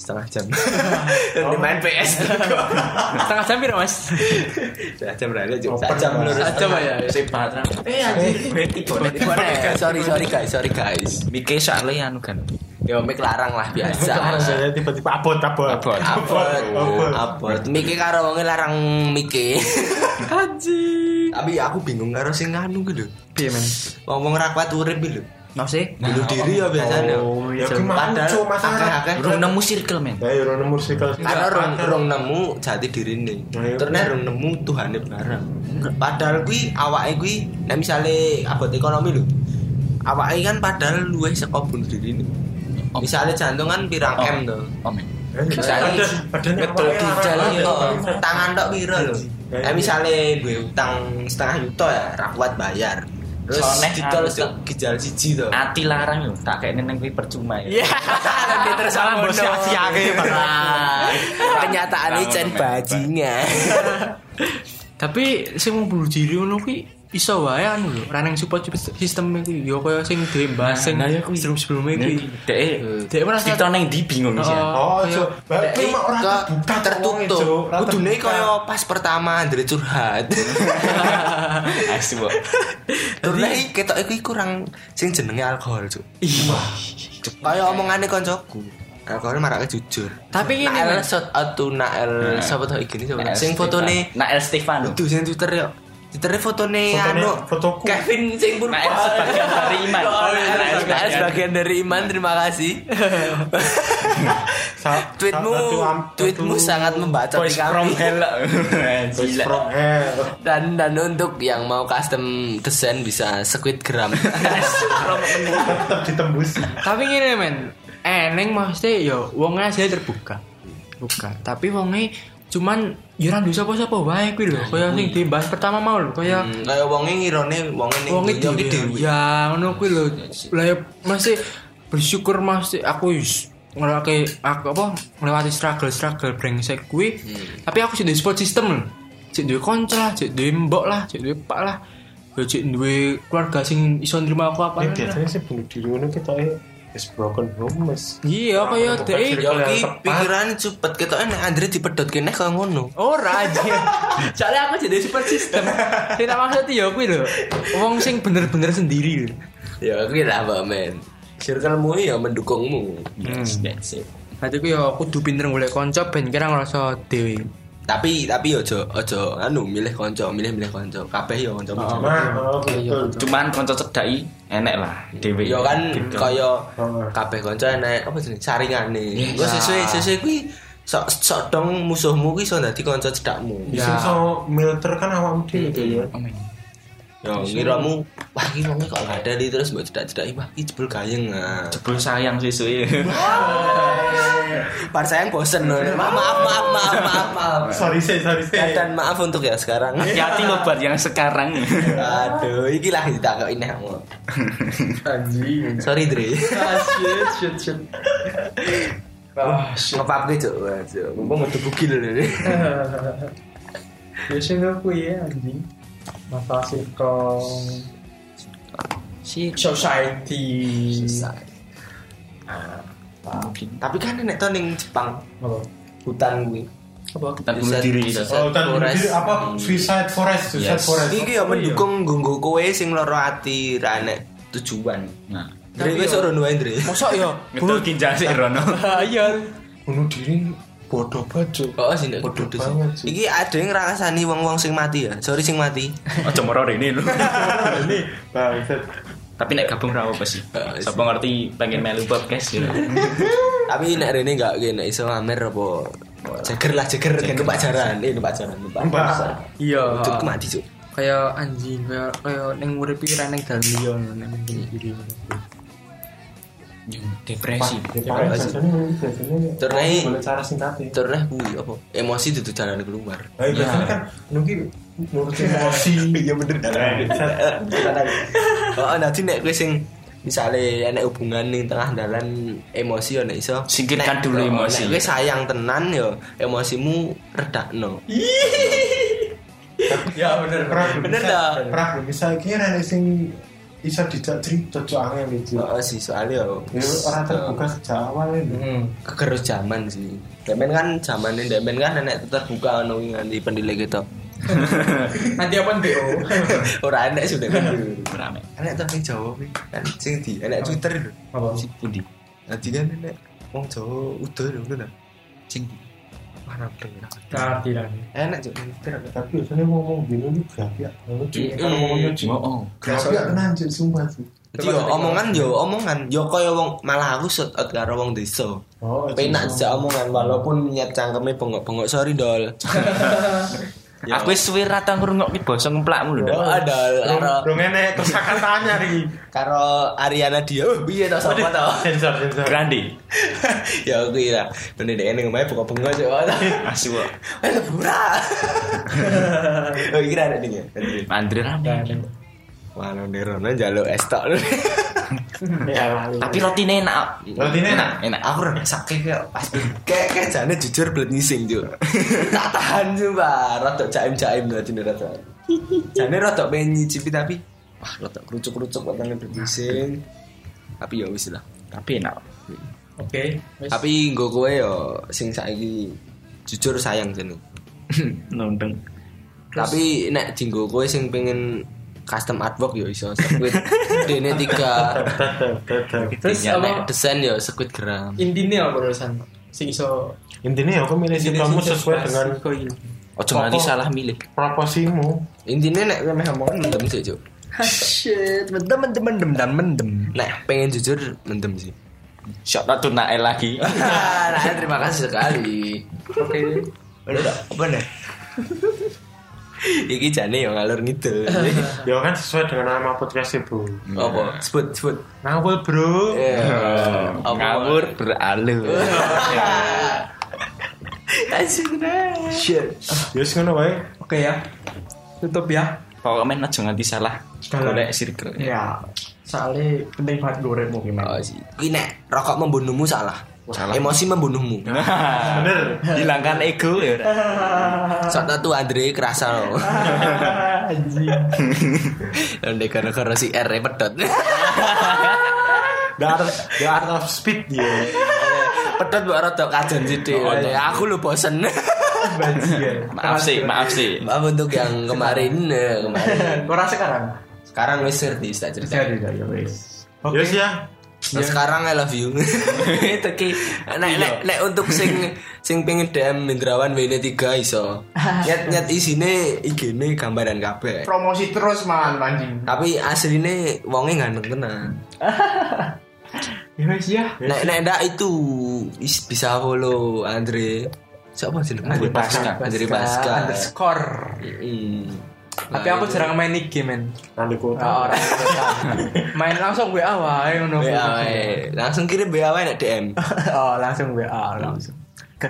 Speaker 1: Setengah <laughs> jam. Nanti main PS.
Speaker 2: Oh.
Speaker 3: Setengah jam piro, Mas?
Speaker 1: Setengah jam berarti cuma
Speaker 2: Open,
Speaker 1: satu jam
Speaker 2: Mas.
Speaker 1: lurus.
Speaker 3: Coba ya.
Speaker 4: Sip banget.
Speaker 3: Eh, anjir.
Speaker 1: Poneh, sorry sorry guys, sorry guys.
Speaker 4: Mike soalnya anu kan.
Speaker 1: Yo mik larang lah biasa.
Speaker 2: Sekarang saya tiba-tiba abot abot.
Speaker 4: Abot.
Speaker 1: Abot,
Speaker 2: Abot.
Speaker 1: abot. Miki karo wonge larang Miki.
Speaker 3: Anjir.
Speaker 1: Tapi aku bingung karo sing anu gitu.
Speaker 3: Piye, men?
Speaker 1: Ngomong rakwat urip gitu.
Speaker 3: Nggak sih?
Speaker 4: Nah,
Speaker 1: Bunuh diri ya biasanya.
Speaker 2: Oh, ya gimana cu masalah.
Speaker 1: akeh-akeh
Speaker 4: iya, Belum nemu circle men.
Speaker 2: Ya, ya, orang nemu circle.
Speaker 1: karena rong, rong nemu jati diri nih
Speaker 2: Iya.
Speaker 1: terus rong nemu Tuhan bareng padahal kui awake kui nah misalnya abot ekonomi lho awake kan padahal luwih saka bunuh diri nih misalnya jantung kan pirang
Speaker 4: Oh.
Speaker 1: M tuh
Speaker 4: Oh, men.
Speaker 2: Eh,
Speaker 1: Misalnya-
Speaker 2: badan- badannya
Speaker 1: betul
Speaker 2: awalnya larang
Speaker 1: jalan
Speaker 2: banget.
Speaker 1: kok tangan tok piro lho
Speaker 2: ya? Iya.
Speaker 1: nah misalnya gue utang setengah juta ya rakwat bayar terus
Speaker 4: Soalnya
Speaker 3: ah,
Speaker 1: ditol
Speaker 4: anu, Cuk.
Speaker 1: gejal siji tuh
Speaker 4: Ati larang yo, tak kayak neneng kuwi percuma ya.
Speaker 3: <laughs> Iya. Nanti terus salah bos
Speaker 4: Nah,
Speaker 1: kenyataan ini cen bajingan
Speaker 3: Tapi sing mau bunuh diri ngono kuwi iso wae anu lho, raneng support sistem kuwi yo kaya sing dhewe mbahas sing
Speaker 4: nah, ya kuwi.
Speaker 3: sebelum-sebelumnya kuwi.
Speaker 4: Dek,
Speaker 3: Dek merasa-
Speaker 4: cerita eh, neng di bingung sih. <laughs> ya.
Speaker 2: Oh, Cuk. Baik,
Speaker 1: Nek,
Speaker 2: mah orang
Speaker 1: ke-
Speaker 2: terbuka Cuk, wongnya, Cuk.
Speaker 1: tertutup.
Speaker 2: Orang
Speaker 1: Kudune
Speaker 2: terbuka.
Speaker 1: kaya pas pertama Andre
Speaker 2: <laughs>
Speaker 1: curhat.
Speaker 4: Asu, Bo.
Speaker 1: Terus iki ketok iku kurang sing jenenge alkohol, Cuk.
Speaker 2: Iya.
Speaker 1: Kaya omongane koncoku. Alkohol marake jujur.
Speaker 3: Tapi ini Nah.
Speaker 1: Nael
Speaker 3: Mas.
Speaker 1: shot out to Nael sapa to iki sapa
Speaker 4: Nael
Speaker 1: sing
Speaker 4: Nah, Stefan.
Speaker 1: fotone
Speaker 4: Nael Stefano.
Speaker 1: Duh sing Twitter yo. Twitternya fotone
Speaker 2: Fotone-
Speaker 1: anu
Speaker 2: fotoku.
Speaker 1: Kevin sing purba.
Speaker 4: Naik sebagian dari iman.
Speaker 1: Nah,
Speaker 4: Naik
Speaker 1: sebagian.
Speaker 4: sebagian.
Speaker 1: sebagian dari iman terima
Speaker 2: <laughs>
Speaker 1: kasih. eh,
Speaker 2: Sa-
Speaker 1: tweetmu
Speaker 2: satu am-
Speaker 1: tweetmu
Speaker 2: satu
Speaker 1: sangat membaca
Speaker 4: Voice from
Speaker 1: kami.
Speaker 4: <laughs> hell.
Speaker 2: voice
Speaker 4: Gila.
Speaker 2: from hell.
Speaker 1: Dan dan untuk yang mau custom desain bisa
Speaker 2: <laughs>
Speaker 1: Squidgram.
Speaker 2: tetap ditembus
Speaker 3: tapi ngene men Eh, eneng maksudnya yo wongnya saya terbuka buka tapi wongnya cuman yuran dosa apa sapa wae kuwi lho kaya sing dibahas pertama mau lho kaya
Speaker 1: Hmm, Kayak wonge ngirone wonge ning
Speaker 3: wonge
Speaker 1: donya
Speaker 3: dhewe
Speaker 1: iki dhewe.
Speaker 3: ya ngono kuwi lho lah ya masih bersyukur masih aku wis ngelewati aku apa ngelewati struggle struggle brengsek kuwi
Speaker 1: Hmm.
Speaker 3: tapi aku sih di support system lho cek duwe konco lah cek duwe mbok lah cek duwe pak lah ya cek duwe keluarga sing iso nerima aku apa
Speaker 2: ini biasanya sih bunuh diri ini kita eh is broken home mas
Speaker 3: iya kaya
Speaker 2: Orang
Speaker 3: dhek
Speaker 1: Yo
Speaker 2: bukan Kalau yang
Speaker 1: ki
Speaker 2: tepat.
Speaker 1: pikiran cepet ketoke nek Andre dipedhotke nek kaya ngono.
Speaker 3: Ora <laughs> aja. Soalnya aku jadi super system. Tidak maksud ya kuwi lho. Wong sing bener-bener sendiri lho.
Speaker 1: Ya kuwi lah Mbak Men. Circlemu ya mendukungmu.
Speaker 2: Hmm.
Speaker 4: Yes, that's it.
Speaker 3: Nanti ku ya kudu pinter golek kanca ben kira ngerasa dhewe.
Speaker 1: Tapi tapi ojo ojo anu milih kanca, milih-milih kanca. Kabeh ya kanca.
Speaker 2: nah oh, betul
Speaker 4: Cuman konco cedai enek lah dewe.
Speaker 1: Ya kan kaya
Speaker 2: Heeh.
Speaker 1: kabeh kanca enek apa jenenge saringane. Engko sesuai sesuai kuwi sok sok dong musuhmu kuwi iso dadi kanca cedakmu.
Speaker 2: bisa so milter kan awam
Speaker 1: Iya,
Speaker 2: diri gitu ya
Speaker 1: Ya ngiramu wah iki wong e kok gak ada nih, terus mbok cedak-cedaki wah iki jebul gayeng. ah.
Speaker 4: Jebul sayang sesuk. iya.
Speaker 1: Par sayang bosen loh. Maaf maaf maaf maaf maaf. maaf.
Speaker 2: sorry saya sorry saya
Speaker 1: Dan maaf untuk ya sekarang.
Speaker 4: <laughs> Hati-hati obat yang sekarang.
Speaker 1: Aduh, iki lah ditakoki nek aku.
Speaker 2: anjing
Speaker 1: Sorry, Dre.
Speaker 2: shit shit shit
Speaker 1: Ngepap gue, Cuk. Wah, Cuk. Mumpung udah bugil lho.
Speaker 2: Hmm. biasanya aku ya anjing masalah sitcom
Speaker 4: Si
Speaker 2: society
Speaker 1: Tapi kan nek to ning Jepang
Speaker 2: oh
Speaker 1: hutan kuwi.
Speaker 4: kita bunuh diri.
Speaker 1: Bisa-
Speaker 2: oh, dan bunuh diri
Speaker 1: Forest.
Speaker 2: apa suicide forest suicide
Speaker 4: Yes.
Speaker 2: forest
Speaker 1: Iki ya mendukung nggo kowe sing lara ati ra nek tujuan.
Speaker 4: Nah,
Speaker 1: Dre
Speaker 2: ya.
Speaker 1: wis ora duwe, Dre.
Speaker 3: Mosok ya
Speaker 4: bunuh ginjal sih Rono.
Speaker 3: bayar.
Speaker 2: bunuh diri bodoh banget
Speaker 1: Oh, sih nek kudu sih.
Speaker 2: banget, Cuk.
Speaker 1: Iki ada yang ngrasani wong-wong sing mati ya. Sorry sing mati.
Speaker 4: <laughs> Aja moro rene lho.
Speaker 2: ini bangsat
Speaker 4: Tapi nek gabung ra apa sih?
Speaker 1: Heeh,
Speaker 4: Sapa ngerti pengen melu podcast ya.
Speaker 1: Tapi nek rene gak kene iso ngamer apa jeger lah jeger kan numpak jaran, eh numpak jaran numpak.
Speaker 2: Numpak. Ah.
Speaker 1: pasar.
Speaker 3: Iya.
Speaker 1: Cuk mati cuk.
Speaker 3: Kaya anjing kaya kaya ning urip iki reneng dalem liya ngono, ning sendiri.
Speaker 4: Depresi.
Speaker 1: ya,
Speaker 2: Paling biasanya biasanya
Speaker 1: Ternai.
Speaker 2: boleh cara singkatnya
Speaker 1: Terus nah, kuwi apa? Emosi dudu jalan keluar.
Speaker 2: Nah, biasanya kan nunggu nurut <laughs> emosi. Iya bener.
Speaker 1: Oh, nanti nek kowe sing misale enek hubungan ning tengah dalan emosi ya nek iso
Speaker 4: Singkirkan
Speaker 1: Nek-
Speaker 4: dulu
Speaker 1: oh,
Speaker 4: emosi.
Speaker 1: Nek kowe sayang tenan ya emosimu redakno.
Speaker 2: Ya bener. Pernah belum
Speaker 1: Bener
Speaker 2: bisa-
Speaker 1: dah.
Speaker 2: Pernah belum bisa kira nih sing bisa dijak cerita cocok angin itu.
Speaker 1: Heeh sih soalnya yo.
Speaker 2: Ya orang terbuka sejak awal ini.
Speaker 1: kegerus zaman sih. Demen kan zamane demen kan enek terbuka ono kuwi nganti pendilik gitu.
Speaker 3: Nanti apa DO?
Speaker 1: Ora enek sudah kan.
Speaker 4: Rame.
Speaker 1: enak tapi Jawa kuwi kan sing di enak Twitter lho.
Speaker 2: Apa?
Speaker 4: Si pundi?
Speaker 1: Dadi kan enak wong Jawa udah lho ngono lah.
Speaker 4: Sing
Speaker 1: Mana pengen.
Speaker 2: Tapi lagi.
Speaker 1: Enak juk Twitter.
Speaker 2: Tapi biasanya ngomong gini ini grafi ya. Lucu.
Speaker 1: Mm.
Speaker 2: Kalau ngomong lucu.
Speaker 4: Oh, oh.
Speaker 2: Grafi ya tenan cuy sumpah cuy.
Speaker 1: Jadi yo omongan yo omongan yo kaya wong malah aku shout out karo wong desa.
Speaker 2: Oh, cuy.
Speaker 1: Penak jak omongan walaupun niat cangkeme bengok-bengok sorry dol.
Speaker 3: Ya.
Speaker 4: Aku wis suwi ra tau ngrungokke basa ngemplakmu lho.
Speaker 1: Oh, ada karo
Speaker 2: Belum enak terus akan tanya nih.
Speaker 1: karo Ariana dia. Oh, piye to sapa to? <laughs>
Speaker 2: Sensor sensor.
Speaker 4: Grande.
Speaker 1: Ya kuwi lah. Bener dek ning omahe bengok-bengok juk.
Speaker 4: Asu. kok.
Speaker 1: Eh, pura. Oh, iki ada ning ya.
Speaker 4: Andre
Speaker 3: Ya,
Speaker 4: rame.
Speaker 1: Wah, nonderone njaluk es tok. <laughs>
Speaker 2: Ya lalu.
Speaker 4: Tapi rotine enak.
Speaker 2: Rotine enak?
Speaker 4: Enak.
Speaker 1: aku rada sakit kayak pas <laughs> kayak kayak jane jujur belet ngising tuh <laughs> tak tahan coba rada jaim jaim lah jane <laughs> rada jane rada pengen nyicipi tapi wah rada kerucuk kerucuk batangnya belet ngising tapi ya wis lah
Speaker 4: Tapi
Speaker 3: <laughs>
Speaker 4: enak.
Speaker 3: Oke. wes.
Speaker 1: tapi nggo kowe yo sing saiki jujur sayang jane
Speaker 4: Nundeng.
Speaker 1: tapi nek dinggo kowe sing pengen custom artwork yo iso squid dene tiga
Speaker 3: Terus
Speaker 2: Iya,
Speaker 4: Intinya,
Speaker 3: apa
Speaker 1: nek desain yo squid gram
Speaker 3: intine apa urusan? Sing iso
Speaker 2: Intinya ya aku milih sitcommu
Speaker 3: sing iso
Speaker 2: sesuai
Speaker 3: pas-
Speaker 2: dengan
Speaker 3: kok iya.
Speaker 1: Ojo nganti salah milih.
Speaker 2: proposimu
Speaker 1: Intinya nek kowe meh ngomong mendem sih, Cuk.
Speaker 3: Shit, mendem mendem mendem dan mendem.
Speaker 1: Nek pengen jujur mendem sih.
Speaker 4: Shot out tuh nael lagi.
Speaker 1: <laughs> nah, terima kasih sekali. Oke.
Speaker 3: Udah, apa nih?
Speaker 1: <laughs> Iki jane yo ngalur <laughs> ngidul.
Speaker 2: ya kan sesuai dengan nama podcast ibu
Speaker 1: Apa? Sebut, sebut.
Speaker 2: ngawul bro
Speaker 4: Eh.
Speaker 1: Yeah. Apa?
Speaker 4: Ngawur
Speaker 3: <laughs>
Speaker 4: beralur.
Speaker 1: Shit.
Speaker 2: ya yes, ngono wae
Speaker 3: Oke ya. Tutup ya.
Speaker 4: Pokoknya aja nganti salah.
Speaker 2: Salah.
Speaker 4: Golek circle.
Speaker 3: Ya. Soalnya penting banget gue
Speaker 2: <laughs>
Speaker 3: mungkin.
Speaker 1: Oh, sih. Kuwi nek rokok membunuhmu salah. Emosi membunuhmu.
Speaker 4: <laughs>
Speaker 2: bener
Speaker 3: <laughs>
Speaker 4: Hilangkan ego ya. Ra.
Speaker 1: Soalnya tuh Andre kerasa loh. <laughs> Ndek gara-gara si R e pedot. <laughs>
Speaker 2: the art, the art of speed ya
Speaker 1: pedot mbok rada kajen sithik. Aku lu bosen. <laughs>
Speaker 2: bajikan
Speaker 4: Maaf sih, maaf sih.
Speaker 1: Maaf untuk yang kemarin, eh, kemarin.
Speaker 3: Ora sekarang.
Speaker 1: Sekarang wis serdi tak cerita.
Speaker 3: Jadi ya wis.
Speaker 2: ya
Speaker 3: Oke.
Speaker 2: ya
Speaker 1: Nah, sekarang I love <laughs> you. Iya. Teki. Nek nek nek untuk sing sing pengen DM Mindrawan WN3 <laughs> iso. Nyet nyet isine IG-ne gambaran kabeh.
Speaker 3: Promosi terus man anjing.
Speaker 1: Tapi asline wonge ganteng tenan.
Speaker 3: Ya wis ya.
Speaker 1: Nek nek ndak itu is- bisa follow Andre. Siapa sih Andre
Speaker 2: Pasca.
Speaker 1: Andre Pasca.
Speaker 3: Underscore.
Speaker 1: Mm.
Speaker 3: Tapi aku
Speaker 1: Nah,
Speaker 3: jarang main IG men.
Speaker 2: nanti
Speaker 3: Nah,
Speaker 2: kota
Speaker 3: orang
Speaker 1: <laughs>
Speaker 3: main langsung WA wae ngono.
Speaker 1: WA wae. Langsung kirim WA wae nek <laughs> DM.
Speaker 3: <laughs> Oh, langsung WA langsung.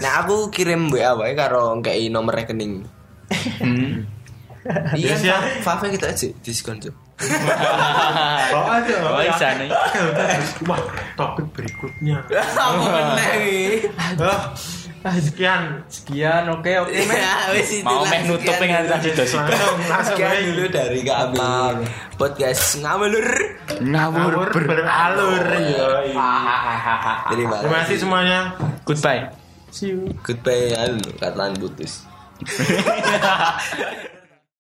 Speaker 1: Nah aku kirim WA wae karo ngkei nomor rekening.
Speaker 3: Hmm.
Speaker 1: Iya,
Speaker 2: Yes, ya.
Speaker 1: Fa- Fafe kita aja diskon tuh.
Speaker 2: oh aja
Speaker 4: Oh,
Speaker 2: ya.
Speaker 4: isa nih.
Speaker 2: wah topik berikutnya
Speaker 4: <laughs>
Speaker 1: Apa meneh iki?
Speaker 2: oh, sekian
Speaker 3: Sekian, oke oke men.
Speaker 1: <laughs> Ya wis itu.
Speaker 4: Mau
Speaker 1: lah,
Speaker 4: meh nutup
Speaker 1: sekian
Speaker 4: pengen
Speaker 1: dulu.
Speaker 4: tadi dosi.
Speaker 2: langsung langsung
Speaker 1: Sekian
Speaker 2: wae.
Speaker 1: dulu dari kami podcast ngamelur.
Speaker 2: ngawur
Speaker 4: Ngawur
Speaker 2: beralur ya
Speaker 1: Terima
Speaker 2: terima kasih
Speaker 1: kasih.
Speaker 2: semuanya
Speaker 4: Goodbye.
Speaker 2: see you
Speaker 1: Goodbye, anu, kataan putus.